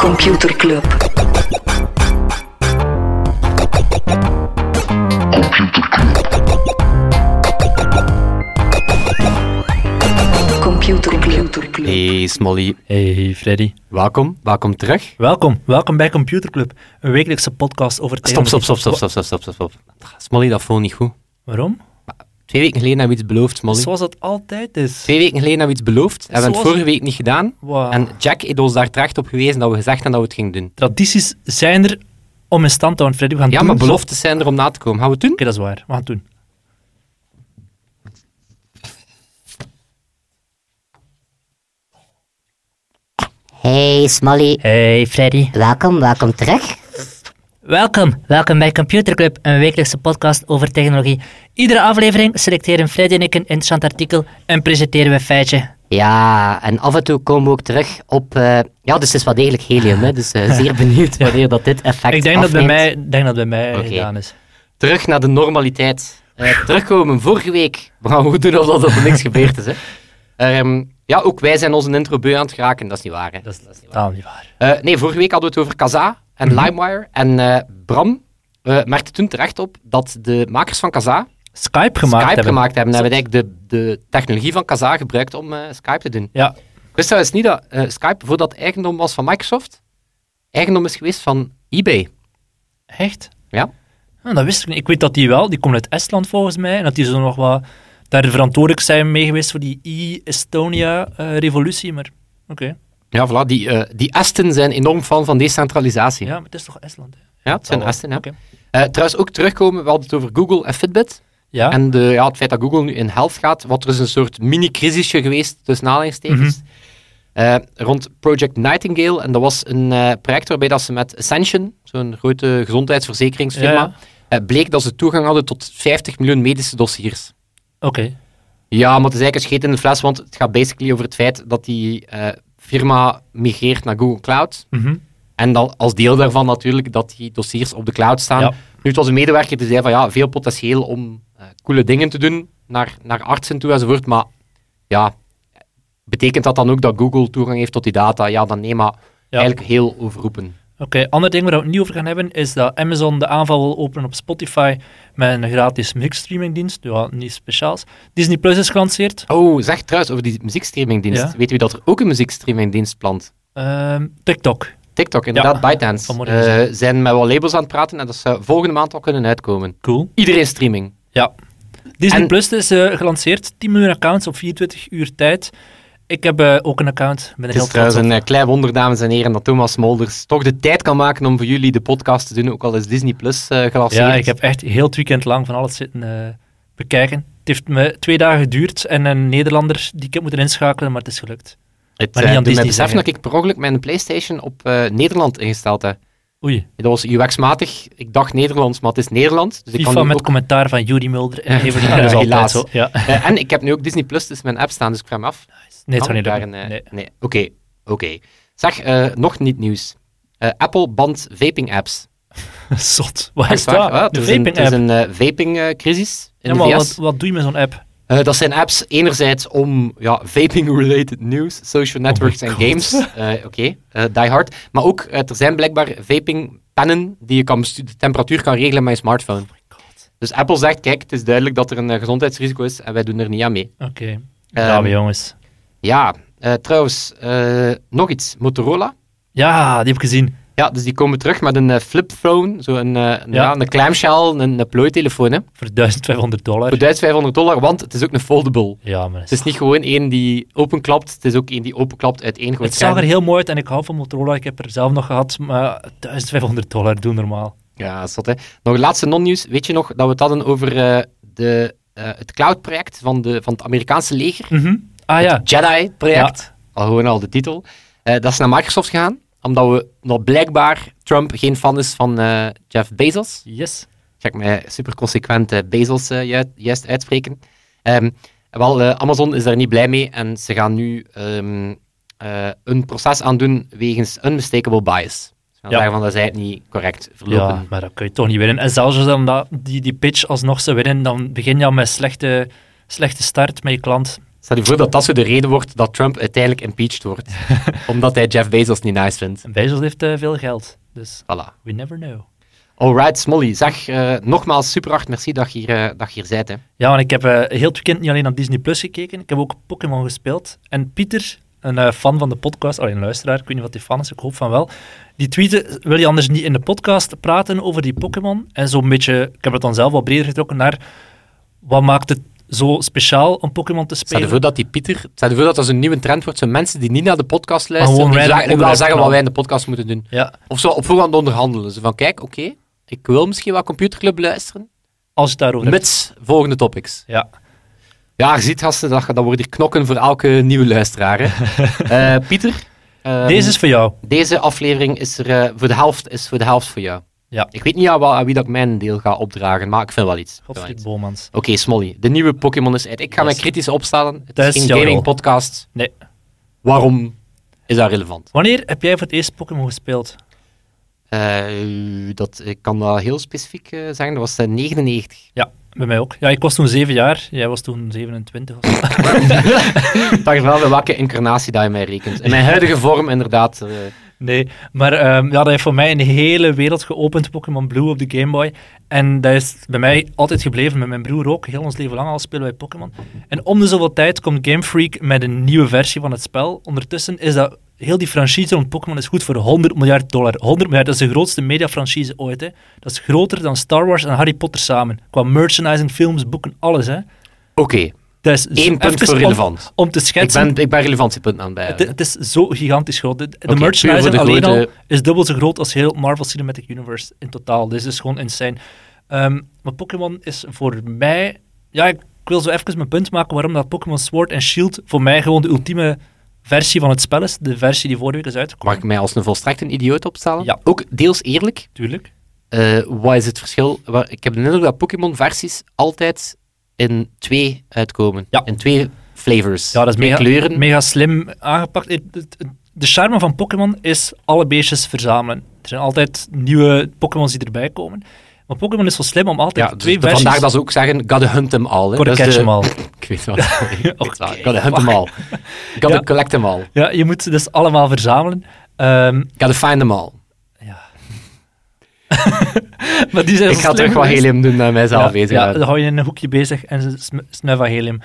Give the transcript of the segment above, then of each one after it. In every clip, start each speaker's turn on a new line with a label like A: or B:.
A: Computer Club. Computer Club. Computer Club.
B: Hey Smolly,
C: Hey Freddy.
B: welkom, welkom terug.
C: Welkom, welkom bij Computer Club, een wekelijkse podcast over
B: Stop, stop, stop, stop,
C: Wa-
B: stop, stop, stop, stop, stop. Smolly, dat voelt niet goed.
C: Waarom?
B: Twee weken geleden hebben we iets beloofd, Smolly.
C: Zoals het altijd is.
B: Twee weken geleden hebben we iets beloofd, hebben we het
C: Zoals-
B: vorige week niet gedaan.
C: Wow.
B: En Jack heeft ons daar terecht op gewezen dat we gezegd hebben dat we het gingen doen.
C: Tradities zijn er om in stand te houden, Freddy. We gaan
B: Ja,
C: doen
B: maar
C: zo-
B: beloftes zijn er om na te komen. Gaan we het doen?
C: Oké, dat is waar. We gaan het doen.
D: Hey Smolly,
C: Hey Freddy.
D: welkom, welkom terug.
C: Welkom, welkom bij Computer Club, een wekelijkse podcast over technologie. Iedere aflevering selecteren Freddy en ik een interessant artikel en presenteren we een feitje.
D: Ja, en af en toe komen we ook terug op... eh, ja, dus het is wel degelijk helium, hè, dus eh, zeer benieuwd wanneer dat dit effect
C: Ik denk dat, bij
D: afneemt.
C: mij, ik denk dat bij mij
D: Oké.
C: gedaan is.
B: Terug naar de normaliteit. Eh, terugkomen vorige week. We gaan goed doen alsof dat er niks gebeurd is. Hè. Ehm, ja, ook wij zijn onze intro beu aan het geraken. Dat is niet waar. Hè. Dat is, niet waar.
C: Totaal niet waar.
B: Eh, nee, vorige week hadden we het over Kaza en
C: Mhm.
B: LimeWire. En eh, Bram eh, merkte toen terecht op dat de makers van Kaza
C: Skype gemaakt
B: Skype
C: hebben.
B: gemaakt hebben. En hebben eigenlijk de, de technologie van Kaza gebruikt om eh, Skype te doen.
C: Ja,
B: Ik wist trouwens niet dat eh, Skype, voordat eigendom was van Microsoft, eigendom is geweest van eBay.
C: Echt?
B: Ja.
C: Ah, dat wist ik niet. Ik weet dat die wel, die komt uit Estland volgens mij, en dat die zo nog wat daar verantwoordelijk zijn mee geweest voor die E-Estonia-revolutie, maar oké.
B: Ja, voilà. Die, eh, die Esten zijn enorm fan van decentralisatie.
C: Ja, maar het is toch Estland, hè?
B: Ja, het zijn
C: Zal wel.
B: Esten, ja.
C: Oké.
B: Eh, trouwens, ook terugkomen, we hadden het over Google en Fitbit.
C: Ja,
B: En de, ja, het feit dat Google nu in helft gaat, wat er is een soort mini-crisisje geweest tussen aanhalingstekens.
C: Mhm.
B: eh, rond Project Nightingale. En dat was een eh, project waarbij dat ze met Ascension, zo'n grote gezondheidsverzekeringsfirma,
C: Ja,
B: eh, bleek dat ze toegang hadden tot 50 miljoen medische dossiers.
C: oké.
B: Ja, maar het is eigenlijk een scheet in de fles, want het gaat basically over het feit dat die eh, firma migreert naar Google Cloud.
C: Mhm.
B: En dan als deel daarvan natuurlijk dat die dossiers op de cloud staan.
C: Ja.
B: Nu, het was een medewerker die zei van ja, veel potentieel om eh, coole dingen te doen naar, naar artsen toe enzovoort. Maar ja, betekent dat dan ook dat Google toegang heeft tot die data? Ja, dan nee, maar
C: Ja.
B: eigenlijk heel overroepen.
C: Oké, ander ding waar we het niet over gaan hebben, is dat Amazon de aanval wil openen op Spotify met een gratis muziekstreamingdienst, ja, niets speciaals. Disney Plus is gelanceerd.
B: Oh, zeg trouwens over die muziekstreamingdienst.
C: Ja.
B: Weet Weten we dat er ook een muziekstreamingdienst plant?
C: Ehm, TikTok.
B: TikTok, inderdaad,
C: Ja,
B: ByteDance.
C: vanmorgen
B: Eh,
C: gezien.
B: zijn met wat labels aan het praten en dat ze volgende maand al kunnen uitkomen.
C: Cool.
B: Iedereen streaming.
C: Ja. Disney
B: En-
C: Plus is eh, gelanceerd. 10 miljoen accounts op 24 uur tijd. Ik heb eh, ook een account. Ben er
B: Het
C: heel
B: is trouwens
C: trots op.
B: een eh, klein wonder, dames en heren, dat Thomas Molders toch de tijd kan maken om voor jullie de podcast te doen, ook al is Disney Plus eh gelanceerd.
C: Ja, ik heb echt heel het weekend lang van alles zitten eh, bekijken. Het heeft me twee dagen geduurd en een Nederlander die ik heb moeten inschakelen, maar het is gelukt.
B: het
C: maar
B: eh,
C: niet aan
B: doet mij
C: Disney
B: beseffen
C: zeggen.
B: dat ik per ongeluk mijn Playstation op eh, Nederland ingesteld heb.
C: Oei,
B: Dat was UX-matig. Ik dacht Nederlands, maar het is Nederland. Dus ik
C: FIFA
B: kan nu
C: met
B: ook-
C: commentaar van Judy Mulder en Evert.
B: Ja,
C: dat is altijd
B: helaas.
C: zo. Ja.
B: Eh, en ik heb nu ook Disney Plus tussen mijn app staan, dus ik vraag me af.
C: Nee, het
B: kan
C: zou niet
B: ik daar
C: lukken.
B: een, eh,
C: Nee.
B: Nee, oké. oké. Zeg, eh, nog niet nieuws. Eh, Apple band vaping-apps.
C: Zot. Waar
B: Echt
C: is
B: waar?
C: dat?
B: Ja, Ah, het
C: de
B: is een-
C: vaping
B: Het
C: app.
B: is een eh, vaping-crisis in
C: Ja,
B: de
C: maar
B: VS.
C: wat, wat doe je met zo'n app?
B: Eh, dat zijn apps enerzijds om ja, vaping-related nieuws, social networks en
C: Oh God.
B: games. Eh, Oké, eh, die hard. Maar ook, eh, er zijn blijkbaar vaping-pennen die je kan bestu- de temperatuur kan regelen met je smartphone.
C: Oh
B: Dus Apple zegt, kijk, het is duidelijk dat er een eh, gezondheidsrisico is en wij doen er niet aan mee.
C: Oké. Bravo, jongens.
B: Ja, eh, trouwens, eh, nog iets. Motorola.
C: Ja, die heb ik gezien.
B: Ja, dus die komen terug met een eh, flip phone, zo een, eh, een-
C: Ja.
B: ja, een clamshell, een, een plooitelefoon. Hè.
C: Voor 1500 dollar.
B: Voor 1500 dollar, want het is ook een foldable.
C: Ja, maar
B: Het is niet gewoon één die openklapt, het is ook één die openklapt uit één gewoon
C: Het zag er
B: scherm.
C: heel mooi uit en ik hou van Motorola. Ik heb er zelf nog gehad, maar 1500 dollar, doe normaal.
B: Ja, zot hè. Nog een laatste non-nieuws. Weet je nog dat we het hadden over eh, de, eh, het cloud-project van, de, van het Amerikaanse leger?
C: Ah ja.
B: Het Jedi-project. Al gewoon al de titel. Eh, dat is naar Microsoft gegaan, omdat we nog blijkbaar Trump geen fan is van eh, Jeff Bezos.
C: Yes.
B: Ga ik mij super consequent eh, Bezos eh, ju- juist uitspreken. Ehm, wel, eh, Amazon is daar niet blij mee en ze gaan nu ehm, eh, een proces aan doen wegens unmistakable bias. Ze gaan
C: Ja.
B: zeggen van dat zij het niet correct verlopen.
C: Ja, maar dat kun je toch niet winnen. En zelfs als dan dat, die, die pitch alsnog ze winnen, dan begin je al met slechte, slechte start met je klant.
B: Stel je voor dat dat zo de reden wordt dat Trump uiteindelijk impeached wordt. omdat hij Jeff Bezos niet nice vindt.
C: En Bezos heeft eh, veel geld, dus
B: Voilà.
C: we never know.
B: Alright, Smolly. Zeg, eh, nogmaals super hard merci dat je hier, eh, dat je hier bent. Hè.
C: Ja, want ik heb eh, heel het weekend niet alleen aan Disney Plus gekeken, ik heb ook Pokémon gespeeld. En Pieter, een eh, fan van de podcast, alleen een luisteraar, ik weet niet wat die fan is, ik hoop van wel. Die tweette, wil je anders niet in de podcast praten over die Pokémon? En zo'n beetje, ik heb het dan zelf wat breder getrokken naar, wat maakt het zo speciaal om Pokémon te
B: Stel je
C: spelen?
B: voor dat die Pieter, stel je voor dat dat zo'n nieuwe trend wordt. Zo mensen die niet naar de podcast luisteren,
C: gewoon
B: die
C: random
B: eigenlijk wel
C: onderwerpen
B: zeggen wat
C: knallen.
B: wij in de podcast moeten doen.
C: Ja,
B: Of zo op voorhand onderhandelen. Zo van, kijk, oké, ik wil misschien wel Computerclub luisteren,
C: als je het daarover hebt.
B: mits volgende topics.
C: Ja.
B: Ja, je ziet gasten, dat, dat wordt hier knokken voor elke nieuwe luisteraar. hè. Eh, Pieter, ehm,
C: Deze is voor jou.
B: deze aflevering is er eh, voor de helft is voor de helft voor jou.
C: Ja.
B: Ik weet niet aan, wa- aan wie dat ik mijn deel ga opdragen, maar ik vind wel iets. Ik vind wel
C: Godfried
B: iets.
C: Bomans.
B: Oké, Smolly, de nieuwe Pokémon is uit. Ik ga
C: Dat
B: mij
C: is-
B: kritisch opstellen. Het
C: dat
B: is
C: is
B: geen
C: jouw
B: gaming
C: rol.
B: podcast.
C: Nee.
B: Waarom is dat relevant?
C: Wanneer heb jij voor het eerst Pokémon gespeeld?
B: Eh, dat, ik kan dat heel specifiek eh, zeggen. Dat was eh, 99.
C: Ja, bij mij ook. Ja, ik was toen 7 jaar, jij was toen 27 of zo.
B: Ik dacht wel bij welke incarnatie dat je mij rekent. In mijn huidige vorm inderdaad. eh,
C: Nee, maar ehm, ja, dat heeft voor mij een hele wereld geopend, Pokémon Blue op de Game Boy. En dat is bij mij altijd gebleven, met mijn broer ook. Heel ons leven lang al spelen wij Pokémon. En om de zoveel tijd komt Game Freak met een nieuwe versie van het spel. Ondertussen is dat... Heel die franchise rond Pokémon is goed voor 100 miljard dollar. 100 miljard, dat is de grootste mediafranchise ooit. Hè. Dat is groter dan Star Wars en Harry Potter samen. Qua merchandising, films, boeken, alles. Hè.
B: Oké,
C: Dat is zo-
B: één punt
C: even
B: voor
C: om-
B: relevant.
C: Om te
B: Ik
C: schetsen,
B: ben, ik ben relevantiepunten aan bij.
C: het, het is zo gigantisch groot. De, de
B: Oké, puur
C: merchandising
B: voor de
C: alleen
B: grote-
C: al is dubbel zo groot als heel Marvel Cinematic Universe in totaal. Dit is gewoon insane. Ehm, maar Pokémon is voor mij... Ja, ik wil zo even mijn punt maken waarom dat Pokémon Sword en Shield voor mij gewoon de ultieme versie van het spel is. De versie die vorige week is
B: Mag
C: uitgekomen.
B: ik mij als een volstrekt een idioot opstellen?
C: Ja.
B: Ook deels eerlijk.
C: Tuurlijk.
B: Eh, wat is het verschil? Wa- Ik heb de indruk dat Pokémon-versies altijd in twee uitkomen.
C: Ja.
B: In twee flavors.
C: Ja, dat is
B: twee
C: mega,
B: kleuren.
C: mega slim aangepakt. Het- het- het- De charme van Pokémon is alle beestjes verzamelen. Er zijn altijd nieuwe Pokémons die erbij komen. Maar Pokémon is zo slim om altijd
B: ja, dus
C: twee
B: de-
C: versies...
B: vandaar dat ze ook zeggen, gotta hunt them all. hè.
C: Gotta
B: Dat is
C: catch
B: de-
C: 'em all.
B: ik weet wel. Ik weet
C: Oké,
B: wel. Gotta hunt them all. Gotta
C: Ja.
B: collect them all.
C: Ja, je moet ze dus allemaal verzamelen. Ehm,
B: Gotta find them all.
C: maar die zijn
B: Ik ga
C: zo slim
B: terug wat
C: geweest.
B: helium doen naar mijzelf
C: ja,
B: bezig.
C: Ja,
B: houden.
C: dan hou je in een hoekje bezig en ze sm snuiven aan helium.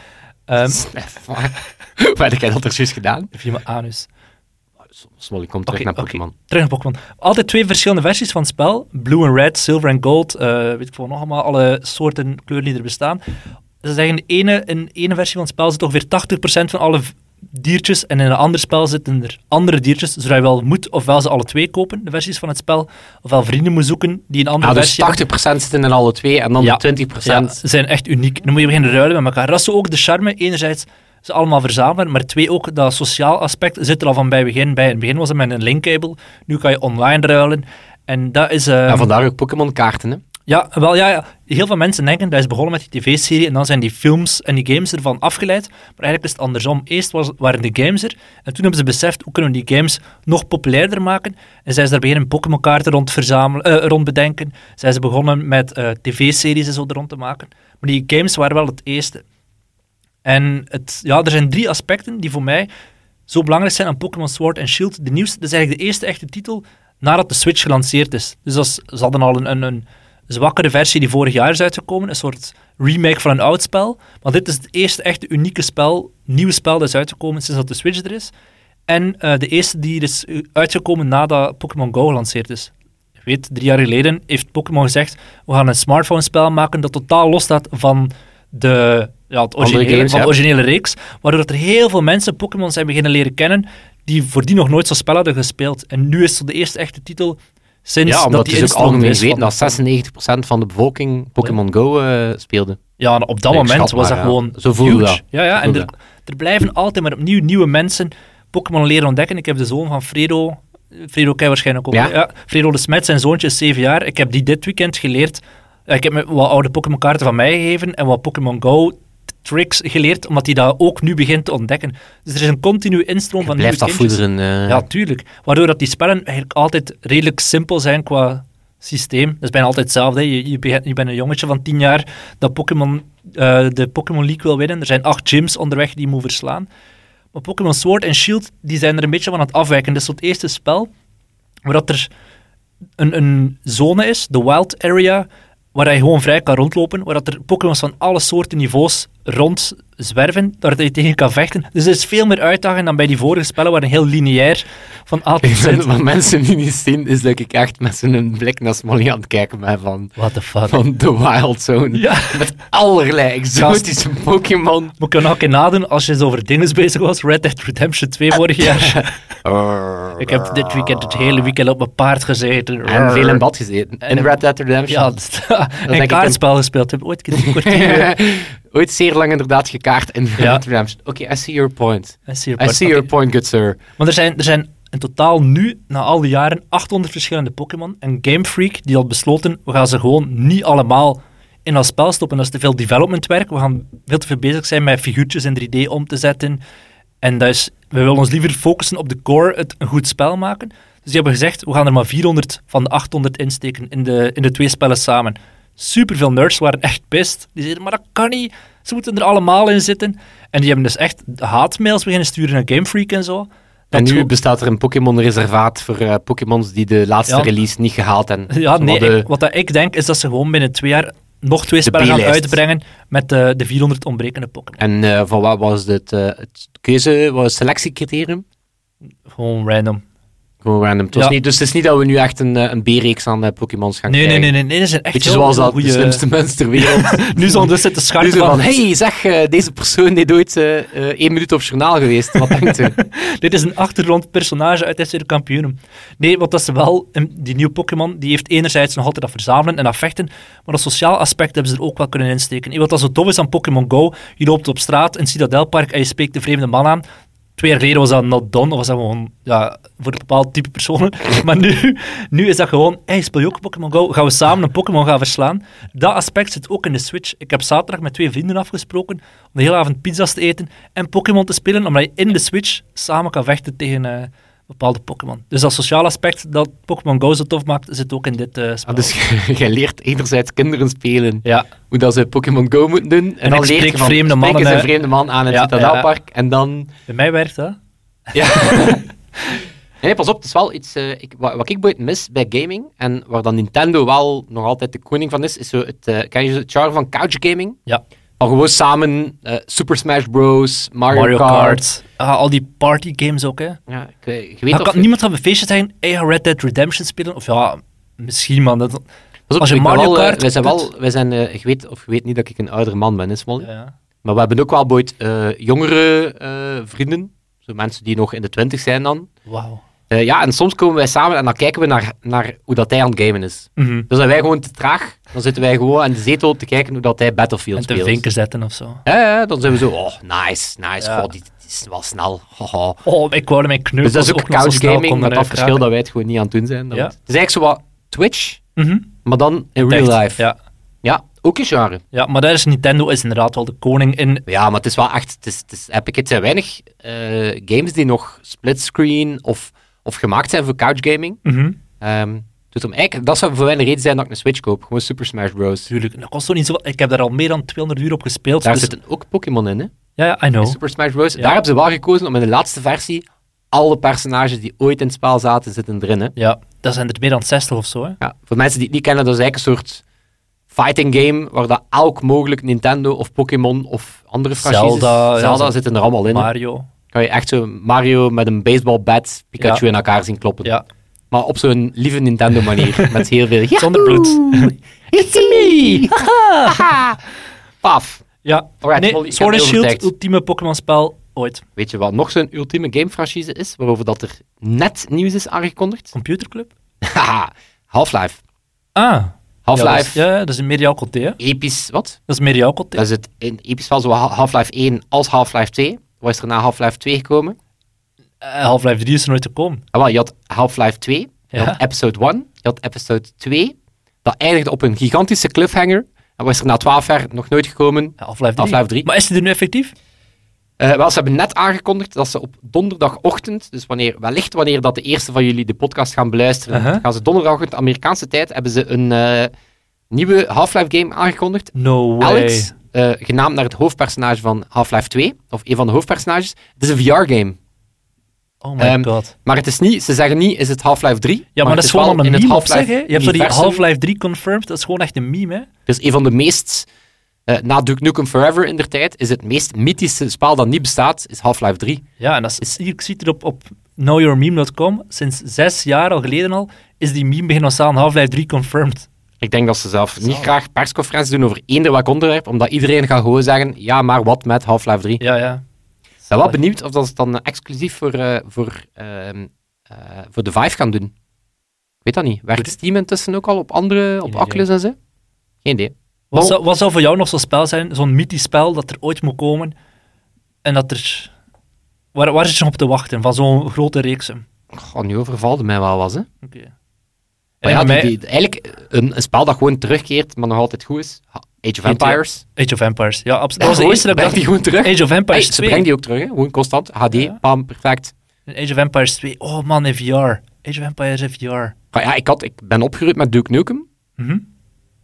C: Ehm,
B: Snef, maar. Wat heb jij dat er juist gedaan?
C: via mijn anus.
B: Smolly, kom terug
C: Oké,
B: naar
C: oké.
B: Pokémon.
C: Terug naar Pokémon. Altijd twee verschillende versies van het spel. Blue en red, silver en gold. eh, weet ik veel, nog allemaal alle soorten kleuren die er bestaan. Ze zeggen, in de ene, in de ene versie van het spel zit ongeveer 80% van alle v- diertjes. En in een ander spel zitten er andere diertjes. Zodat je wel moet ofwel ze alle twee kopen, de versies van het spel. Ofwel vrienden moet zoeken die een andere
B: Ah, dus
C: versie hebben.
B: 80% zitten in alle twee en dan
C: Ja.
B: de 20%.
C: Ja, ze zijn echt uniek. Dan moet je beginnen ruilen met elkaar. Dat is zo ook de charme. Enerzijds ze allemaal verzamelen, maar twee ook dat sociaal aspect zit er al van bij het begin bij. In het begin was het met een linkkabel, nu kan je online ruilen. En dat is... eh,
B: En vandaar ook Pokémon-kaarten. hè.
C: ja, wel, ja, ja, heel veel mensen denken dat is begonnen met die tv-serie en dan zijn die films en die games ervan afgeleid. Maar eigenlijk is het andersom. Eerst was, waren de games er en toen hebben ze beseft hoe kunnen we die games nog populairder maken. En zijn ze daar beginnen Pokémon-kaarten rond, verzamelen, eh, rond bedenken. Zijn ze begonnen met eh, tv-series en zo er rond te maken. Maar die games waren wel het eerste. En het, ja, er zijn drie aspecten die voor mij zo belangrijk zijn aan Pokémon Sword en Shield. De nieuwste, dat is eigenlijk de eerste echte titel nadat de Switch gelanceerd is. Dus dat is, ze hadden al een, een, een zwakkere versie die vorig jaar is uitgekomen, een soort remake van een oud spel. Maar dit is het eerste echte unieke spel, nieuwe spel dat is uitgekomen sinds dat de Switch er is. En eh, de eerste die er is eh, uitgekomen nadat Pokémon Go gelanceerd is. Je weet, drie jaar geleden heeft Pokémon gezegd, we gaan een smartphone-spel maken dat totaal los staat van de, ja, het
B: Andere
C: originele,
B: games,
C: van de
B: ja.
C: originele reeks. Waardoor er heel veel mensen Pokémon zijn beginnen leren kennen die voordien nog nooit zo'n spel hadden gespeeld. En nu is het de eerste echte titel sinds
B: Ja,
C: dat
B: omdat
C: die
B: het Dus is ook
C: instroom er
B: algemeen
C: is van-
B: weten dat 96% van de bevolking Pokémon Go eh, speelde.
C: Ja, en op dat
B: Ik
C: moment
B: schat
C: was
B: maar,
C: dat
B: ja.
C: gewoon
B: Zo voelde
C: huge.
B: dat.
C: Ja,
B: Zo
C: ja, en
B: voelde
C: er, er blijven altijd maar opnieuw nieuwe mensen Pokémon leren ontdekken. Ik heb de zoon van Fredo, Fredo ken je waarschijnlijk ook.
B: Ja.
C: hè? Fredo de Smet, zijn zoontje is 7 jaar. Ik heb die dit weekend geleerd. ja, Ik heb me wat oude Pokémon kaarten van mij gegeven en wat Pokémon Go t- tricks geleerd, omdat hij dat ook nu begint te ontdekken. Dus er is een continue instroom van nieuwe
B: Blijft dat
C: kindjes.
B: voederen. eh.
C: Ja, tuurlijk. Waardoor dat die spellen eigenlijk altijd redelijk simpel zijn qua systeem. Dat is bijna altijd hetzelfde. hè. Je, je, bent, je bent een jongetje van tien jaar dat Pokémon, eh, de Pokémon League wil winnen. Er zijn acht gyms onderweg die je moet verslaan. Maar Pokémon Sword en Shield die zijn er een beetje van aan het afwijken. Dat is zo het eerste spel waar dat er een, een zone is, de wild area, waar je gewoon vrij kan rondlopen, waar dat er Pokémon's van alle soorten niveaus rondzwerven, waar dat je tegen kan vechten. Dus er is veel meer uitdaging dan bij die vorige spellen, waar een heel lineair van A tot Z...
B: Wat mensen die niet zien, is dat ik echt met zo'n blik naar Smolly aan het kijken ben van,
C: What the fuck.
B: van The Wild Zone.
C: Ja.
B: Met allerlei exotische Pokémon.
C: Moet ik jou nog een keer nadoen als je eens over dinges bezig was? Red Dead Redemption 2 vorig jaar. ik heb dit weekend het hele weekend op mijn paard gezeten.
B: En veel in bad gezeten. In Red Dead Redemption.
C: Ja, dat,
B: denk
C: en
B: ik
C: kaartspel gespeeld. Heb ooit een kwartier...
B: Ooit zeer lang inderdaad gekaart in Red
C: Ja.
B: Dead Redemption. Oké, I see your point.
C: I see your
B: I
C: point.
B: see
C: Oké.
B: your point, good sir.
C: Want er zijn, er zijn in totaal nu, na al die jaren, 800 verschillende Pokémon. En Game Freak die had besloten, we gaan ze gewoon niet allemaal in dat spel stoppen. Dat is te veel developmentwerk. We gaan veel te veel bezig zijn met figuurtjes in 3D om te zetten. En dat is, we willen ons liever focussen op de core, het een goed spel maken. Dus die hebben gezegd, we gaan er maar 400 van de 800 insteken in de, in de twee spellen samen. Superveel nerds waren echt pist. Die zeiden, maar dat kan niet. Ze moeten er allemaal in zitten. En die hebben dus echt haatmails beginnen sturen naar Game Freak en zo. Dat
B: en nu
C: gewoon-
B: bestaat er een Pokémon-reservaat voor eh, Pokémons die de laatste
C: Ja.
B: release niet gehaald hebben.
C: Ja,
B: Ze
C: nee,
B: hadden-
C: ik- wat dat ik denk is dat ze gewoon binnen twee jaar nog twee spellen gaan
B: B-lijst.
C: uitbrengen met eh, de, de 400 ontbrekende Pokémon.
B: En eh, van wat was het, eh, het keuze, wat was het selectiecriterium?
C: Gewoon random.
B: Gewoon random. Het was
C: Ja.
B: niet, dus het is niet dat we nu echt een, eh, een B-reeks aan eh, Pokémons gaan
C: Nee, nee,
B: krijgen.
C: nee, nee, nee, dat zijn echt
B: Beetje
C: heel
B: zoals dat
C: goeie-
B: de slimste mensen ter wereld.
C: Nu zal dus zitten
B: Nu
C: scharren
B: zo van,
C: van,
B: hey, zeg, eh, deze persoon deed ooit eh, eh, één minuut op journaal geweest. Wat denkt u?
C: dit is een achtergrondpersonage uit de kampioen. Nee, want dat is wel, en die nieuwe Pokémon, die heeft enerzijds nog altijd dat verzamelen en dat vechten, maar dat sociaal aspect hebben ze er ook wel kunnen insteken. En Wat dat zo tof is aan Pokémon Go, je loopt op straat in Citadelpark en je spreekt een vreemde man aan. Twee jaar geleden was dat not done, of was dat gewoon ja, voor een bepaald type personen. Maar nu, nu is dat gewoon, hey, speel je ook Pokémon Go? Gaan we samen een Pokémon gaan verslaan? Dat aspect zit ook in de Switch. Ik heb zaterdag met twee vrienden afgesproken om de hele avond pizza's te eten en Pokémon te spelen, omdat je in de Switch samen kan vechten tegen eh, bepaalde Pokémon. Dus dat sociale aspect dat Pokémon Go zo tof maakt, zit ook in dit eh, spel.
B: Ah, dus jij leert enerzijds kinderen spelen
C: ja,
B: hoe dat ze Pokémon Go moeten doen. En,
C: En
B: dan
C: ik
B: leer je
C: spreek
B: van,
C: vreemde
B: spreek eens
C: mannen,
B: een
C: eh.
B: vreemde man aan in
C: Ja,
B: het Citadelpark. En dan...
C: bij mij werkt dat.
B: Ja. nee, pas op, het is wel iets... eh, ik, wat, wat ik boeit mis bij gaming, en waar dan Nintendo wel nog altijd de koning van is, is zo het, eh, ken je het genre van couch gaming?
C: Ja.
B: Van gewoon samen eh, Super Smash Bros, Mario,
C: Mario
B: Kart.
C: Kart. Ah, al die party games ook, hè.
B: Ja, ik, weet- ik weet
C: Dan
B: of-
C: kan niemand gaan bij feestjes zeggen, hey, ga Red Dead Redemption spelen? Of ja, misschien, man. Dat...
B: Pas op,
C: Als je
B: ik ben
C: Mario
B: wel, eh,
C: Kart
B: wij zijn
C: doet-
B: wel, wij zijn, eh, ik weet of je weet niet dat ik een oudere man ben, is Molly.
C: Ja.
B: Maar we hebben ook wel ooit eh, jongere eh, vrienden, zo mensen die nog in de twintig zijn dan.
C: Wauw.
B: Eh, ja, en soms komen wij samen en dan kijken we naar, naar hoe dat hij aan het gamen is.
C: Mhm.
B: Dus zijn wij gewoon te traag, dan zitten wij gewoon aan de zetel te kijken hoe dat hij Battlefield
C: En te
B: speelt.
C: vinken zetten of zo.
B: Ja, ja, dan zijn we zo, oh, nice, nice,
C: Ja.
B: god, die, die is wel snel. haha.
C: Oh, ik wou mijn knuppels
B: Dus dat is ook,
C: nog zo
B: couch
C: snel
B: gaming, met
C: konden
B: dat verschil
C: uitkraken.
B: dat wij het gewoon niet aan het doen zijn. Dat
C: Ja.
B: we het- Het is eigenlijk zo wat Twitch,
C: Mhm.
B: maar dan in real
C: Echt,
B: life.
C: Ja.
B: ja, ook een genre.
C: ja, maar daar is Nintendo is inderdaad wel de koning in.
B: Ja, maar het is wel echt. Het is, het is epic. Het zijn weinig eh, games die nog splitscreen of, of gemaakt zijn voor couchgaming.
C: Mhm.
B: Ehm dus om, eigenlijk, dat zou voor mij een reden zijn dat ik een Switch koop. Gewoon Super Smash Bros.
C: Tuurlijk, dat kost toch niet zo Ik heb daar al meer dan 200 uur op gespeeld.
B: Daar
C: dus-
B: zitten ook Pokémon in, hè?
C: Ja, ja, I know.
B: In Super Smash Bros. Daar hebben ze wel gekozen om in de laatste versie alle personages die ooit in het spel zaten, zitten erin. Hè?
C: Ja, dat zijn er meer dan 60 of zo, hè.
B: Ja, voor mensen die het niet kennen, dat is eigenlijk een soort fighting game waar dat elk mogelijk Nintendo of Pokémon of andere franchises...
C: Zelda, ja, zo-
B: zitten er allemaal in. hè.
C: Mario.
B: kan je echt zo Mario met een baseballbat Pikachu
C: Ja.
B: in elkaar zien kloppen.
C: Ja.
B: Maar op zo'n lieve Nintendo manier. met heel veel... Ja,
C: Zonder bloed.
B: it's me! Haha. Paf.
C: Ja.
B: Alright, Molly,
C: nee,
B: ik
C: Sword
B: heb
C: and
B: je
C: Shield,
B: overtuigd.
C: ultieme Pokémon-spel ooit.
B: Weet je wat nog zo'n ultieme gamefranchise is, waarover dat er net nieuws is aangekondigd?
C: Computerclub?
B: Haha. Half-Life.
C: Ah. Ja, dat is-
B: Half-Life.
C: Ja, dat is een mediaal côté, hè.
B: Episch, wat?
C: Dat is mediaal côté.
B: Dat is het in episch wel zo Ha- Half-Life 1 als Half-Life 2. Wat is er na Half-Life 2 gekomen?
C: Eh, Half-Life 3 is er nooit te komen.
B: Ah, wel, je had Half-Life 2, je
C: Ja.
B: had episode 1, je had episode 2. Dat eindigde op een gigantische cliffhanger. En was er na 12 jaar nog nooit gekomen.
C: Ja, Half-Life 3.
B: Half-Life 3.
C: Maar is die er nu effectief?
B: Eh, Eh, wel, ze hebben net aangekondigd dat ze op donderdagochtend, dus wanneer, wellicht wanneer dat de eerste van jullie de podcast gaan beluisteren,
C: Uh-huh.
B: gaan ze donderdagochtend Amerikaanse tijd, hebben ze een eh, nieuwe Half-Life game aangekondigd.
C: No way.
B: Alex, eh, genaamd naar het hoofdpersonage van Half-Life 2, of een van de hoofdpersonages. Het is een VR-game.
C: oh my
B: ehm,
C: god.
B: Maar het is niet, ze zeggen niet, is het Half-Life 3?
C: Ja, maar
B: het
C: dat is gewoon
B: wel
C: al een
B: in het
C: meme op zich,
B: Half-Life
C: hè. Je hebt zo die
B: universum.
C: Half-Life 3 confirmed, dat is gewoon echt een meme, hè.
B: Dus een van de meest, eh na Duke Nukem Forever in der tijd, is het meest mythische spel dat niet bestaat, is Half-Life 3.
C: Ja, en dat is, hier, ik zie het op, op knowyourmeme.com. Sinds zes jaar al geleden al is die meme beginnen ontstaan. Half-Life 3 confirmed.
B: Ik denk dat ze zelf niet graag persconferenties doen over eender welk onderwerp, omdat iedereen gaat gewoon zeggen, ja, maar wat met Half-Life 3?
C: Ja, ja.
B: Ik ben wel benieuwd of dat ze het dan eh, exclusief voor, eh, voor, ehm, eh, voor de Vive gaan doen. Ik weet dat niet. Werkt Steam intussen ook al op andere, op
C: idee.
B: Oculus en zo? Geen idee. Oh,
C: Wat
B: Bon.
C: zou, wat zou voor jou nog zo'n spel zijn, zo'n mythisch spel dat er ooit moet komen en dat er... Waar, waar zit je op te wachten van zo'n grote reeks? hè?
B: Goh, nu overvalde mij wel was, hè.
C: Oké.
B: Maar
C: En
B: ja,
C: mij-
B: die- die- eigenlijk een, een spel dat gewoon terugkeert, maar nog altijd goed is. Ha- Age of Empires.
C: Age of Empires. Ja, absoluut. Dat was de
B: Gewoon,
C: eerste dat ik
B: brengt
C: dacht.
B: die gewoon terug.
C: Age of
B: Hey,
C: Empires
B: ze brengen
C: 2.
B: die ook terug, hè. Gewoon constant. HD,
C: Ja.
B: bam, perfect.
C: Age of Empires 2. Oh man, in VR. Age of Empires in VR.
B: Maar Ah, ja, ik, had, ik ben opgeruimd met Duke Nukem.
C: Mhm.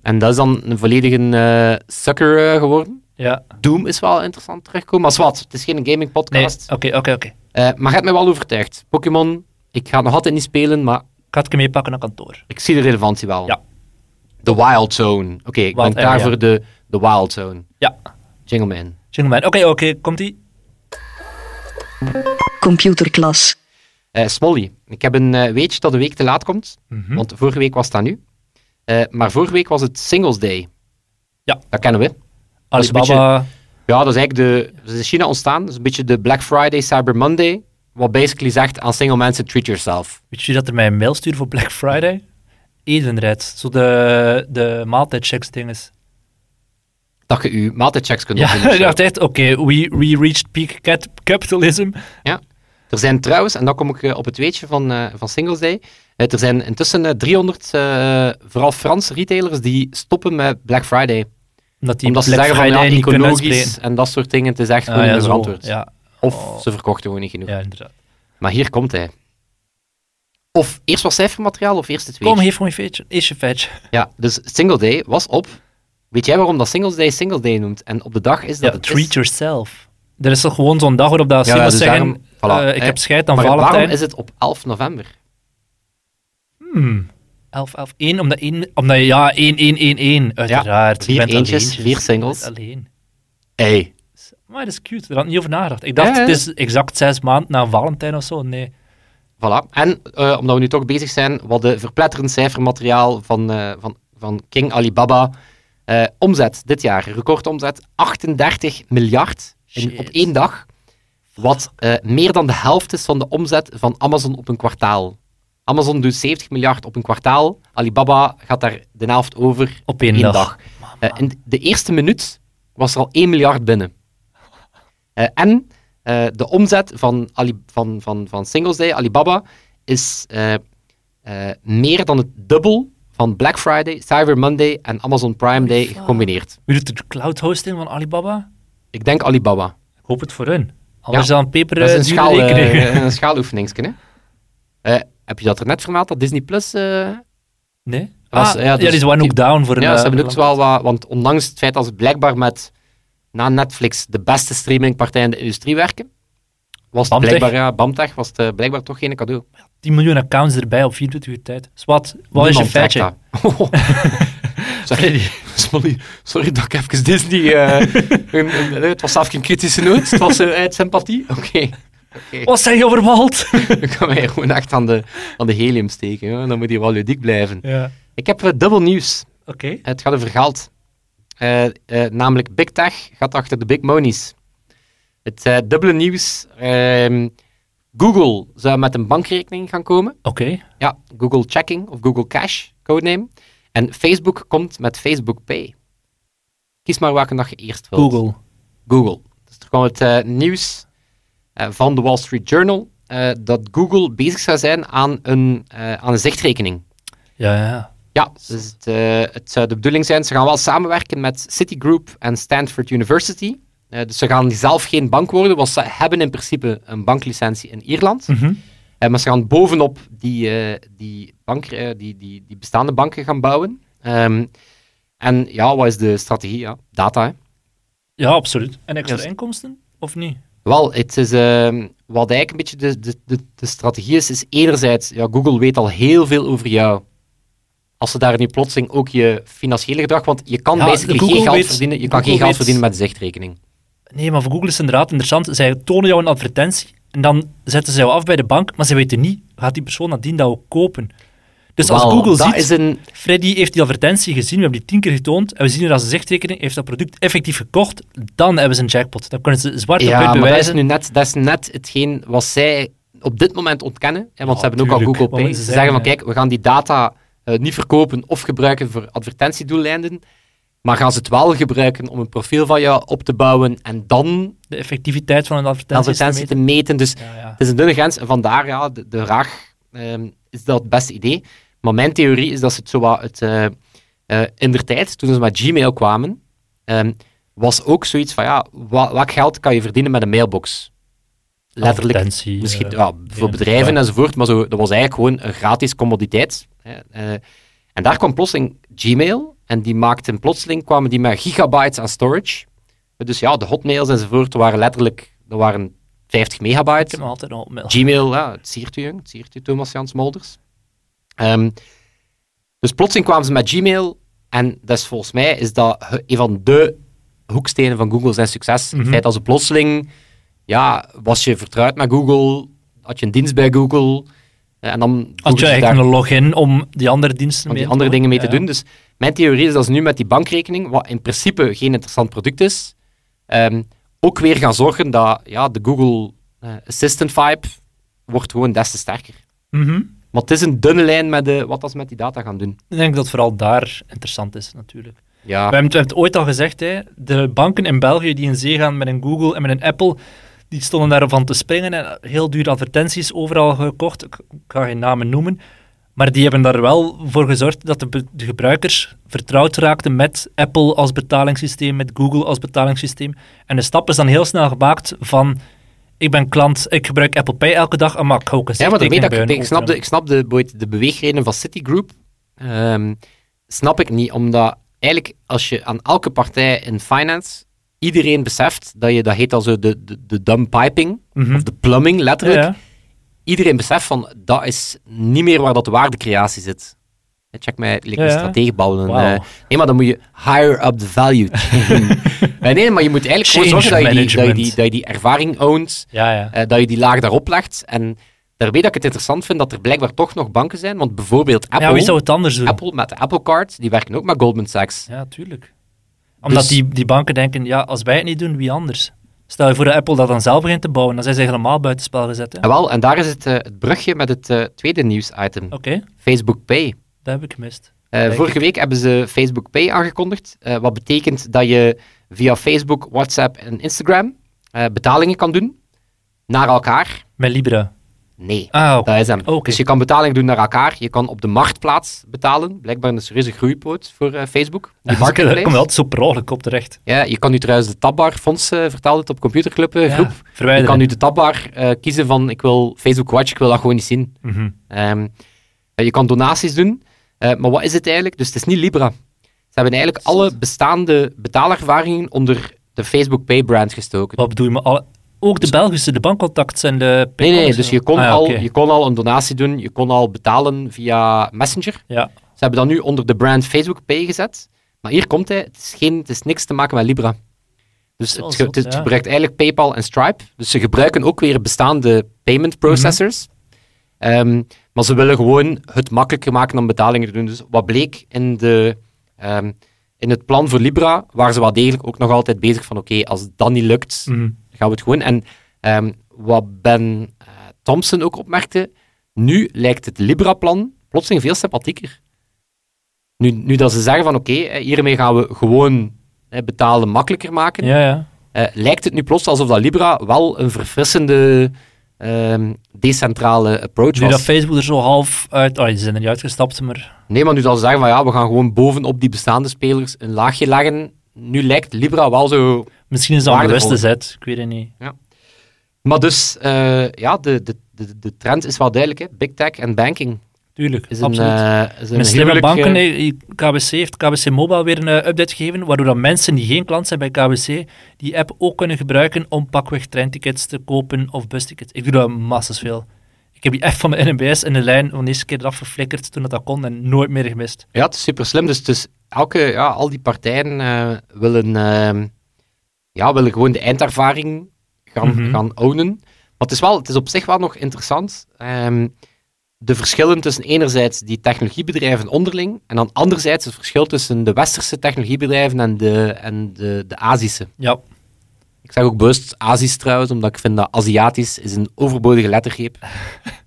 B: En dat is dan een volledige eh, sucker eh, geworden.
C: Ja.
B: Doom is wel interessant terugkomen. Maar zwart, het is geen gaming
C: Nee, Oh.
B: podcast.
C: oké, oké, oké.
B: Eh, maar je hebt mij wel overtuigd. Pokémon, ik ga het nog altijd niet spelen, maar
C: Ik ga het mee pakken naar kantoor.
B: ik zie de relevantie wel.
C: Ja.
B: The Wild Zone. Oké, ik ben
C: Wild
B: klaar
C: area.
B: voor de, de Wild Zone.
C: Ja.
B: Jingleman.
C: Jungleman. Oké, oké. Komt-ie?
A: Computer Class.
B: Eh Smolly, ik heb een eh, weetje dat een week te laat komt,
C: Mhm.
B: want vorige week was dat nu. Eh, maar vorige week was het Singles Day.
C: Ja.
B: Dat kennen we. is een
C: Alibaba.
B: Ja, dat is eigenlijk de, dat is in China ontstaan. Dat is een beetje de Black Friday, Cyber Monday. Wat basically zegt aan single mensen, treat yourself.
C: Weet je dat er mij een mail stuurde voor Black Friday? Edenred. Zo de, de maaltijdchecks dinges.
B: Dat je je maaltijdchecks kunt
C: Ja,
B: doen.
C: ik dacht echt, oké, we, we reached peak cat, capitalism.
B: Ja. Er zijn trouwens, en dan kom ik eh, op het weetje van, eh, van Singles Day. eh, er zijn intussen eh, 300, eh, vooral Franse retailers, die stoppen met Black Friday.
C: Omdat die
B: Omdat ze
C: Black
B: zeggen van
C: Friday
B: ja,
C: niet kunnen
B: ecologisch
C: uitspreken.
B: en dat soort dingen. Het is echt gewoon
C: Ah,
B: niet
C: ja,
B: meer
C: zo.
B: verantwoord.
C: Ja,
B: Of
C: Oh.
B: ze verkochten gewoon niet genoeg.
C: ja, inderdaad.
B: Maar hier komt hij. Of eerst wat cijfermateriaal of eerst het weetje?
C: Kom, geef gewoon een feitje. Is je feitje.
B: Ja, dus Single Day was op. Weet jij waarom dat Singles Day Single Day noemt? En op de dag is dat
C: Ja,
B: het
C: treat
B: is...
C: yourself. Er is toch gewoon zo'n dag waarop dat
B: Ja,
C: singles
B: dus
C: zeggen,
B: daarom- voilà,
C: eh, ik
B: hè.
C: heb scheid aan
B: maar waarom
C: Valentijn.
B: is het op 11 november?
C: Hmm. 11, 11, 1, omdat, één, omdat ja, 1, 1, 1, 1, uiteraard. Je
B: vier
C: bent
B: eentjes,
C: alleentjes.
B: vier singles.
C: Je bent Alleen.
B: Hey.
C: Maar dat is cute, daar had ik niet over nagedacht. Ik dacht,
B: Ja, ja.
C: het is exact zes maanden na Valentijn of zo. Nee.
B: Voilà. En eh, omdat we nu toch bezig zijn, wat de verpletterend cijfermateriaal van, eh, van, van King Alibaba. Eh, omzet dit jaar, recordomzet, 38 miljard in,
C: Shit.
B: op één dag. Wat eh, meer dan de helft is van de omzet van Amazon op een kwartaal. Amazon doet 70 miljard op een kwartaal. Alibaba gaat daar de helft over
C: Op één
B: één
C: dag.
B: Eh, in de eerste minuut was er al 1 miljard binnen. Eh, en eh, de omzet van, Ali, van, van, van Singles Day, Alibaba, is eh, eh, meer dan het dubbel van Black Friday, Cyber Monday en Amazon Prime Day gecombineerd.
C: Wie doet de cloud hosting van Alibaba?
B: Ik denk Alibaba.
C: Ik hoop het voor hun. Anders
B: Ja.
C: dan een peper
B: Dat is een,
C: eh,
B: schaal,
C: dure
B: eh,
C: rekening.
B: een schaaloefeningske, hè? Eh, heb je dat er net vermeld, dat Disney Plus... eh,
C: Nee?
B: was-
C: Ah,
B: ja,
C: ja,
B: dus-
C: die waren ook down voor een...
B: ja, ze
C: eh,
B: hebben ook wel wat... Want ondanks het feit dat ze blijkbaar met, na Netflix, de beste streamingpartij in de industrie werken, was het
C: Bamtech.
B: blijkbaar, ja, Bamtech, was het eh, blijkbaar toch geen cadeau.
C: 10 miljoen accounts erbij op 24 uur tijd. Dus wat, wat is je
B: Niemand trekt
C: feitje?
B: dat. sorry, sorry, sorry dat ik even Disney... eh, een- een- nee, het was zelf geen kritische noot, het was eh, uit sympathie. Oké.
C: Wat zeg je over Walt?
B: Dan kan mij gewoon echt aan de, aan de helium steken. Hoor. Dan moet je wel ludiek blijven.
C: ja. Oké.
B: Ik heb eh, dubbel nieuws. Het gaat over geld. Eh, eh, namelijk Big Tech gaat achter de big monies. Het eh, dubbele nieuws. ehm, Google zou met een bankrekening gaan komen.
C: Oké.
B: Ja, Google Checking of Google Cash, codename. En Facebook komt met Facebook Pay. Kies maar welke dag je eerst wilt.
C: Google.
B: Google. Dus er kwam het eh, nieuws eh, van de Wall Street Journal eh, dat Google bezig zou zijn aan een, eh, aan een zichtrekening.
C: Ja, ja, ja.
B: Ja, dus het, eh, het zou de bedoeling zijn, ze gaan wel samenwerken met Citigroup en Stanford University Eh, dus ze gaan zelf geen bank worden, want ze hebben in principe een banklicentie in Ierland.
C: Mhm.
B: Eh, maar ze gaan bovenop die, eh, die, bank, eh, die, die, die bestaande banken gaan bouwen. Ehm, en ja, wat is de strategie? Ja, data. Hè?
C: Ja, absoluut. En extra
B: Juist.
C: inkomsten? Of niet?
B: Wel, het is, ehm, wat eigenlijk een beetje de, de, de, de strategie is, is enerzijds, ja, Google weet al heel veel over jou. Als ze daar nu plotseling ook je financiële gedrag, want je kan
C: Ja,
B: basically
C: Google
B: geen geld
C: weet-
B: verdienen, je kan
C: Google
B: geen geld
C: weet-
B: verdienen met de zichtrekening.
C: Nee, maar voor Google is het inderdaad interessant. Zij tonen jou een advertentie en dan zetten ze jou af bij de bank, maar ze weten niet, gaat die persoon nadien dat ook kopen? Dus als
B: Wel,
C: Google
B: dat
C: ziet,
B: is een,
C: Freddy heeft die advertentie gezien, we hebben die tien keer getoond, en we zien er als een zichtrekening, heeft dat product effectief gekocht, dan hebben ze een jackpot. Dan kunnen ze zwart op
B: ja,
C: wit
B: maar dat is
C: bewijzen.
B: nu net, dat is net hetgeen wat zij op dit moment ontkennen. Hè, want
C: Ja,
B: ze hebben ook al
C: tuurlijk,
B: Google
C: wat
B: Pay. Ze
C: moeten ze
B: zeggen van,
C: zeggen,
B: kijk, we gaan die data eh, niet verkopen of gebruiken voor advertentiedoeleinden, maar gaan ze het wel gebruiken om een profiel van jou op te bouwen en dan
C: De effectiviteit van een
B: de
C: advertentie. is te
B: advertentie te
C: meten.
B: meten. Dus
C: Ja, ja.
B: het is een dunne grens en vandaar ja, de, de vraag, ehm, is dat het beste idee? Maar mijn theorie is dat ze het zo wat... Het, eh, eh, in der tijd, toen ze met Gmail kwamen, ehm, was ook zoiets van, ja, wa- welk geld kan je verdienen met een mailbox? Letterlijk,
C: Advertentie,
B: misschien
C: eh,
B: ja, voor
C: dingen.
B: bedrijven
C: Ja.
B: enzovoort, maar zo, dat was eigenlijk gewoon een gratis commoditeit. Hè. Eh, en daar kwam plotseling Gmail, en die maakten plotseling, kwamen die met gigabytes aan storage. Dus ja, de hotmails enzovoort waren letterlijk, dat waren 50
C: Ik
B: megabyte.
C: heb hem altijd al mail.
B: Gmail, ja, het siert u, jong. het siert u, Thomas Jans Molders. Ehm, dus plotseling kwamen ze met Gmail, en dat is volgens mij is dat he- een van de hoekstenen van Google zijn succes.
C: Mhm.
B: Het feit dat ze plotseling, ja, was je vertrouwd met Google, had je een dienst bij Google, eh, en dan
C: Had je
B: voegden ze
C: eigenlijk
B: daar
C: een login om die andere diensten
B: om
C: mee
B: die
C: te
B: andere
C: doen?
B: dingen mee te
C: Ja, ja.
B: doen. Dus mijn theorie is dat ze nu met die bankrekening, wat in principe geen interessant product is, ehm, ook weer gaan zorgen dat ja, de Google eh, Assistant vibe wordt gewoon des te sterker.
C: Mhm.
B: Maar het is een dunne lijn met de, wat als met die data gaan doen.
C: Ik denk dat het vooral daar interessant is, natuurlijk.
B: Ja,
C: We hebben, het- we hebben het ooit al gezegd, hè, de banken in België die in zee gaan met een Google en met een Apple, die stonden daarvan te springen en heel dure advertenties overal gekocht. Ik ik ga geen namen noemen. Maar die hebben daar wel voor gezorgd dat de, be- de gebruikers vertrouwd raakten met Apple als betalingssysteem, met Google als betalingssysteem. En de stap is dan heel snel gemaakt van, ik ben klant, ik gebruik Apple Pay elke dag, Ah, maar ik ga ook een
B: ja maar dan weet ik,
C: zichttekening bij
B: ik
C: hun
B: snap, de,
C: openen.
B: ik snap de, boeit- de beweegreden van Citigroup. Ehm, snap ik niet, omdat eigenlijk als je aan elke partij in finance, iedereen beseft dat je, dat heet al zo de, de, de dumb piping,
C: Mhm.
B: of de plumbing letterlijk.
C: Ja, ja.
B: iedereen beseft van dat is niet meer waar dat de waardecreatie zit. Hè, Check mij, het lijkt
C: Ja,
B: een
C: ja.
B: stratege babbelen.
C: Wauw.
B: eh. nee, maar dan moet je higher up the value chain. Eh, nee, maar je moet eigenlijk gewoon
C: Change
B: zorgen dat je, die, dat, je die,
C: management.
B: dat je die ervaring ownt,
C: ja, ja.
B: eh, dat je die laag daarop legt. En daarbij dat ik het interessant vind dat er blijkbaar toch nog banken zijn, want bijvoorbeeld
C: ja, wie zou
B: Apple,
C: het anders doen?
B: Apple met de Apple Card, die werken ook met Goldman Sachs.
C: Ja, tuurlijk. Omdat
B: Dus-
C: die, die banken denken, ja, als wij het niet doen, wie anders? Stel je voor dat Apple dat dan zelf begint te bouwen, dan zijn ze helemaal buitenspel gezet. hè.
B: En wel, en daar is het, eh, het brugje met het eh, tweede nieuwsitem,
C: Oké,
B: Facebook Pay.
C: dat heb ik gemist.
B: Eh,
C: Kijk.
B: vorige week hebben ze Facebook Pay aangekondigd. eh, wat betekent dat je via Facebook, WhatsApp en Instagram eh, betalingen kan doen naar elkaar.
C: Met Libra.
B: Nee,
C: Ah, oké.
B: dat is hem.
C: Oké.
B: Dus je kan betalingen doen naar elkaar. Je kan op de marktplaats betalen. Blijkbaar een serieuze groeipoot voor eh, Facebook. Die
C: Daar kom je
B: marketplace.
C: altijd zo per ongeluk op terecht.
B: Ja, je kan nu trouwens de tabbar, Fons eh, vertelde het op computerclub eh,
C: Ja,
B: groep. Je
C: Verwijderen.
B: kan nu de tabbar eh, kiezen van ik wil Facebook Watch, ik wil dat gewoon niet zien.
C: Mhm.
B: Ehm, eh, je kan donaties doen, eh, maar wat is het eigenlijk? Dus het is niet Libra. Ze hebben eigenlijk alle bestaande betaalervaringen onder de Facebook Pay brand gestoken.
C: Wat bedoel je? Maar alle... Ook de Belgische, de bankcontacts en de...
B: Dus- Nee, nee,
C: Paypal en
B: dus
C: zo.
B: je kon,
C: Ah, ja,
B: al,
C: oké.
B: je kon al een donatie doen, je kon al betalen via Messenger.
C: Ja,
B: Ze hebben dat nu onder de brand Facebook Pay gezet. Maar hier komt hij, het is, geen, het is niks te maken met Libra. Dus
C: Wel
B: het, ge-
C: zot,
B: het
C: ja.
B: gebruikt eigenlijk PayPal en Stripe. Dus ze gebruiken ook weer bestaande payment processors. Ehm, maar ze willen gewoon het makkelijker maken om betalingen te doen. Dus wat bleek in, de, ehm, in het plan voor Libra, waren ze wel degelijk ook nog altijd bezig van oké, als dat niet lukt,
C: Mhm.
B: gaan we het gewoon. En ehm, wat Ben eh, Thompson ook opmerkte, nu lijkt het Libra-plan plotseling veel sympathieker. Nu, nu dat ze zeggen van oké, eh, hiermee gaan we gewoon eh, betalen makkelijker maken,
C: ja, ja.
B: eh, lijkt het nu plots alsof dat Libra wel een verfrissende ehm, decentrale approach
C: Nu
B: was.
C: dat Facebook er zo half uit... Oh, die zijn er niet uitgestapt, maar...
B: Nee, maar nu dat ze zeggen van ja, we gaan gewoon bovenop die bestaande spelers een laagje leggen, nu lijkt Libra wel zo...
C: Misschien is dat een
B: Waardevolle.
C: bewuste zet, ik weet het niet.
B: Maar dus, eh, ja, de, de, de, de trend is wel duidelijk. Hè. Big tech en banking
C: Tuurlijk,
B: is een,
C: absoluut.
B: eh, is een
C: Met slimme
B: heerlijk, eh,
C: banken, eh, KBC heeft KBC Mobile weer een eh, update gegeven, waardoor dat mensen die geen klant zijn bij KBC, die app ook kunnen gebruiken om pakweg treintickets te kopen of bustickets. Ik doe dat massas veel. Ik heb die app van mijn NMBS in de lijn van de eerste keer eraf geflikkerd toen dat, dat kon en nooit meer gemist.
B: Ja, het is super slim. Dus, dus elke, ja, al die partijen eh, willen, ehm, ja, willen gewoon de eindervaring gaan,
C: Mhm.
B: gaan ownen. Maar het is, wel, het is op zich wel nog interessant. ehm, de verschillen tussen enerzijds die technologiebedrijven onderling en dan anderzijds het verschil tussen de westerse technologiebedrijven en de, en de, de Azische.
C: Ja,
B: Ik zeg ook bewust Azisch trouwens, omdat ik vind dat Aziatisch is een overbodige lettergreep.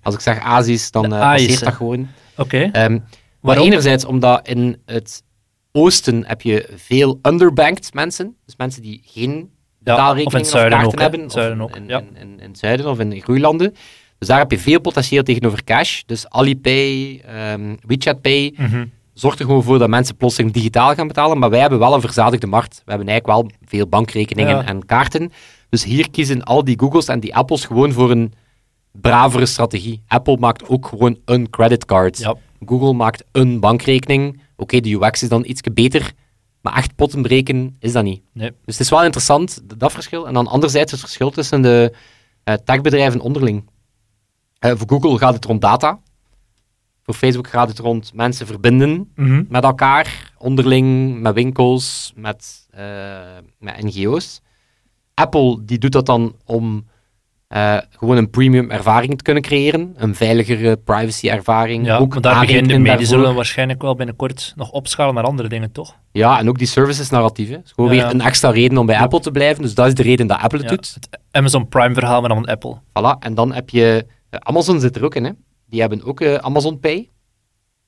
B: Als ik zeg Azisch, dan
C: De
B: eh, passeert
C: Aische.
B: dat gewoon.
C: oké.
B: Ehm, maar
C: Waarom?
B: enerzijds omdat in het oosten heb je veel underbanked mensen. Dus mensen die geen betaalrekening
C: of in het
B: of
C: zuiden
B: kaarten
C: ook, hè.
B: hebben.
C: Het zuiden
B: of
C: ook,
B: in,
C: ja.
B: in, in, in het zuiden of in groeilanden. Dus daar heb je veel potentieel tegenover cash. Dus Alipay, ehm, WeChat Pay,
C: Mhm.
B: zorgt er gewoon voor dat mensen plotseling digitaal gaan betalen. Maar wij hebben wel een verzadigde markt. We hebben eigenlijk wel veel bankrekeningen
C: Ja.
B: en kaarten. Dus hier kiezen al die Googles en die Apples gewoon voor een bravere strategie. Apple maakt ook gewoon een creditcard.
C: Ja.
B: Google maakt een bankrekening. Oké, de UX is dan iets beter. Maar echt potten breken is dat niet.
C: Nee.
B: Dus het is wel interessant, d- dat verschil. En dan anderzijds het verschil tussen de eh, techbedrijven onderling. Eh, voor Google gaat het rond data. Voor Facebook gaat het rond mensen verbinden
C: Mhm.
B: met elkaar, onderling, met winkels, met, eh, met NGO's. Apple die doet dat dan om eh, gewoon een premium ervaring te kunnen creëren. Een veiligere privacy ervaring.
C: Ja,
B: ook
C: maar daar beginnen
B: aanrekenen
C: mee. Die zullen
B: daarvoor.
C: waarschijnlijk wel binnenkort nog opschalen naar andere dingen, toch?
B: Ja, en ook die services narratief. hè. is gewoon
C: Ja,
B: weer
C: ja.
B: een extra reden om bij Apple te blijven. Dus dat is de reden dat Apple het
C: Ja,
B: doet.
C: het Amazon Prime verhaal, maar dan van Apple.
B: Voilà. En dan heb je... eh, Amazon zit er ook in, hè. Die hebben ook eh, Amazon Pay.
C: Is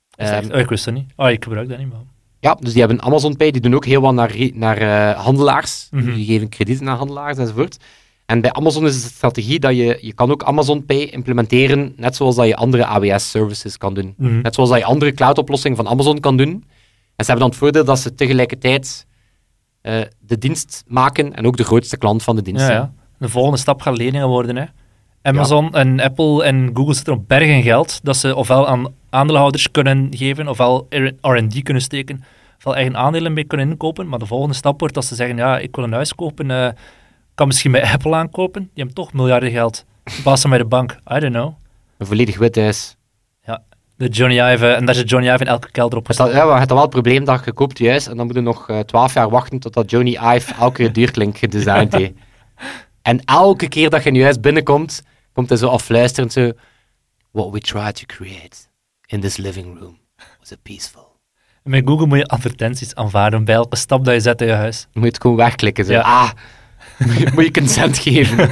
C: dat
B: Ehm,
C: echt- oh, ik wist dat niet. Oh, ik gebruik dat niet, man.
B: Ja, dus die hebben Amazon Pay, die doen ook heel wat naar, re- naar eh, handelaars.
C: Mhm.
B: Die geven kredieten aan handelaars enzovoort. En bij Amazon is het de strategie dat je, je kan ook Amazon Pay implementeren, net zoals dat je andere AWS-services kan doen.
C: Mhm.
B: Net zoals dat je andere cloud-oplossingen van Amazon kan doen. En ze hebben dan het voordeel dat ze tegelijkertijd eh, de dienst maken en ook de grootste klant van de dienst
C: Ja,
B: zijn.
C: ja. De volgende stap gaat leningen worden. Hè. Amazon en Apple en Google zitten op bergen geld dat ze ofwel aan aandeelhouders kunnen geven, ofwel R&D kunnen steken, ofwel eigen aandelen mee kunnen inkopen. Maar de volgende stap wordt dat ze zeggen, ja, ik wil een huis kopen, eh, kan misschien bij Apple aankopen. Die hebben toch miljarden geld. Die Passen bij de bank. I don't know.
B: Een volledig wit huis.
C: De Johnny Ive, eh, en daar zit Johnny Ive in elke kelder op
B: Het had,
C: gezet.
B: ja, maar je hebt dan wel het probleem dat je koopt je huis en dan moet je nog eh, twaalf jaar wachten totdat Johnny Ive elke keer duurklink gedesigned heeft. En elke keer dat je in je huis binnenkomt, komt hij zo afluisterend zo... What we tried to create in this living room was a peaceful...
C: Met Google moet je advertenties aanvaarden bij elke stap dat je zet in je huis.
B: Dan moet je het gewoon wegklikken. Zo.
C: Ja.
B: Ah, moet je- moet je consent geven.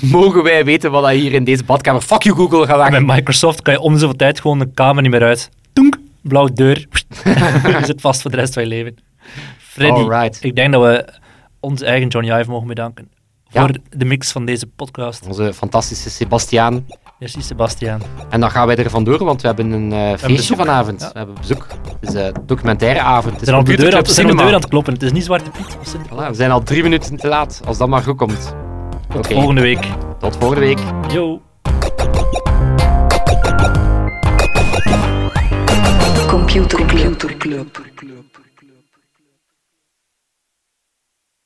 B: Mogen wij weten wat dat hier in deze badkamer... Fuck you Google, ga weg.
C: En met Microsoft kan je om de zoveel tijd gewoon de kamer niet meer uit. Toenk, blauwe deur. je zit vast voor de rest van je leven. Freddy,
B: Alright.
C: ik denk dat we onze eigen Johnny Ive mogen bedanken
B: Ja.
C: voor de mix van deze podcast.
B: Onze fantastische Sebastiaan.
C: Merci, Sebastiaan.
B: En dan gaan wij er vandoor, want we hebben een eh, feestje
C: bezoek.
B: vanavond.
C: Ja.
B: We hebben bezoek. Het is een documentaireavond. Het is
C: We zijn al de deur aan,
B: computerclub
C: we zijn aan de
B: cinema.
C: deur aan het kloppen. Het is niet Zwarte Piet. We zijn
B: Voilà, we zijn al drie minuten te laat, als dat maar goed komt. Oké,
C: tot volgende week.
B: tot volgende week.
C: Yo.
A: Computer Club. Computer Club.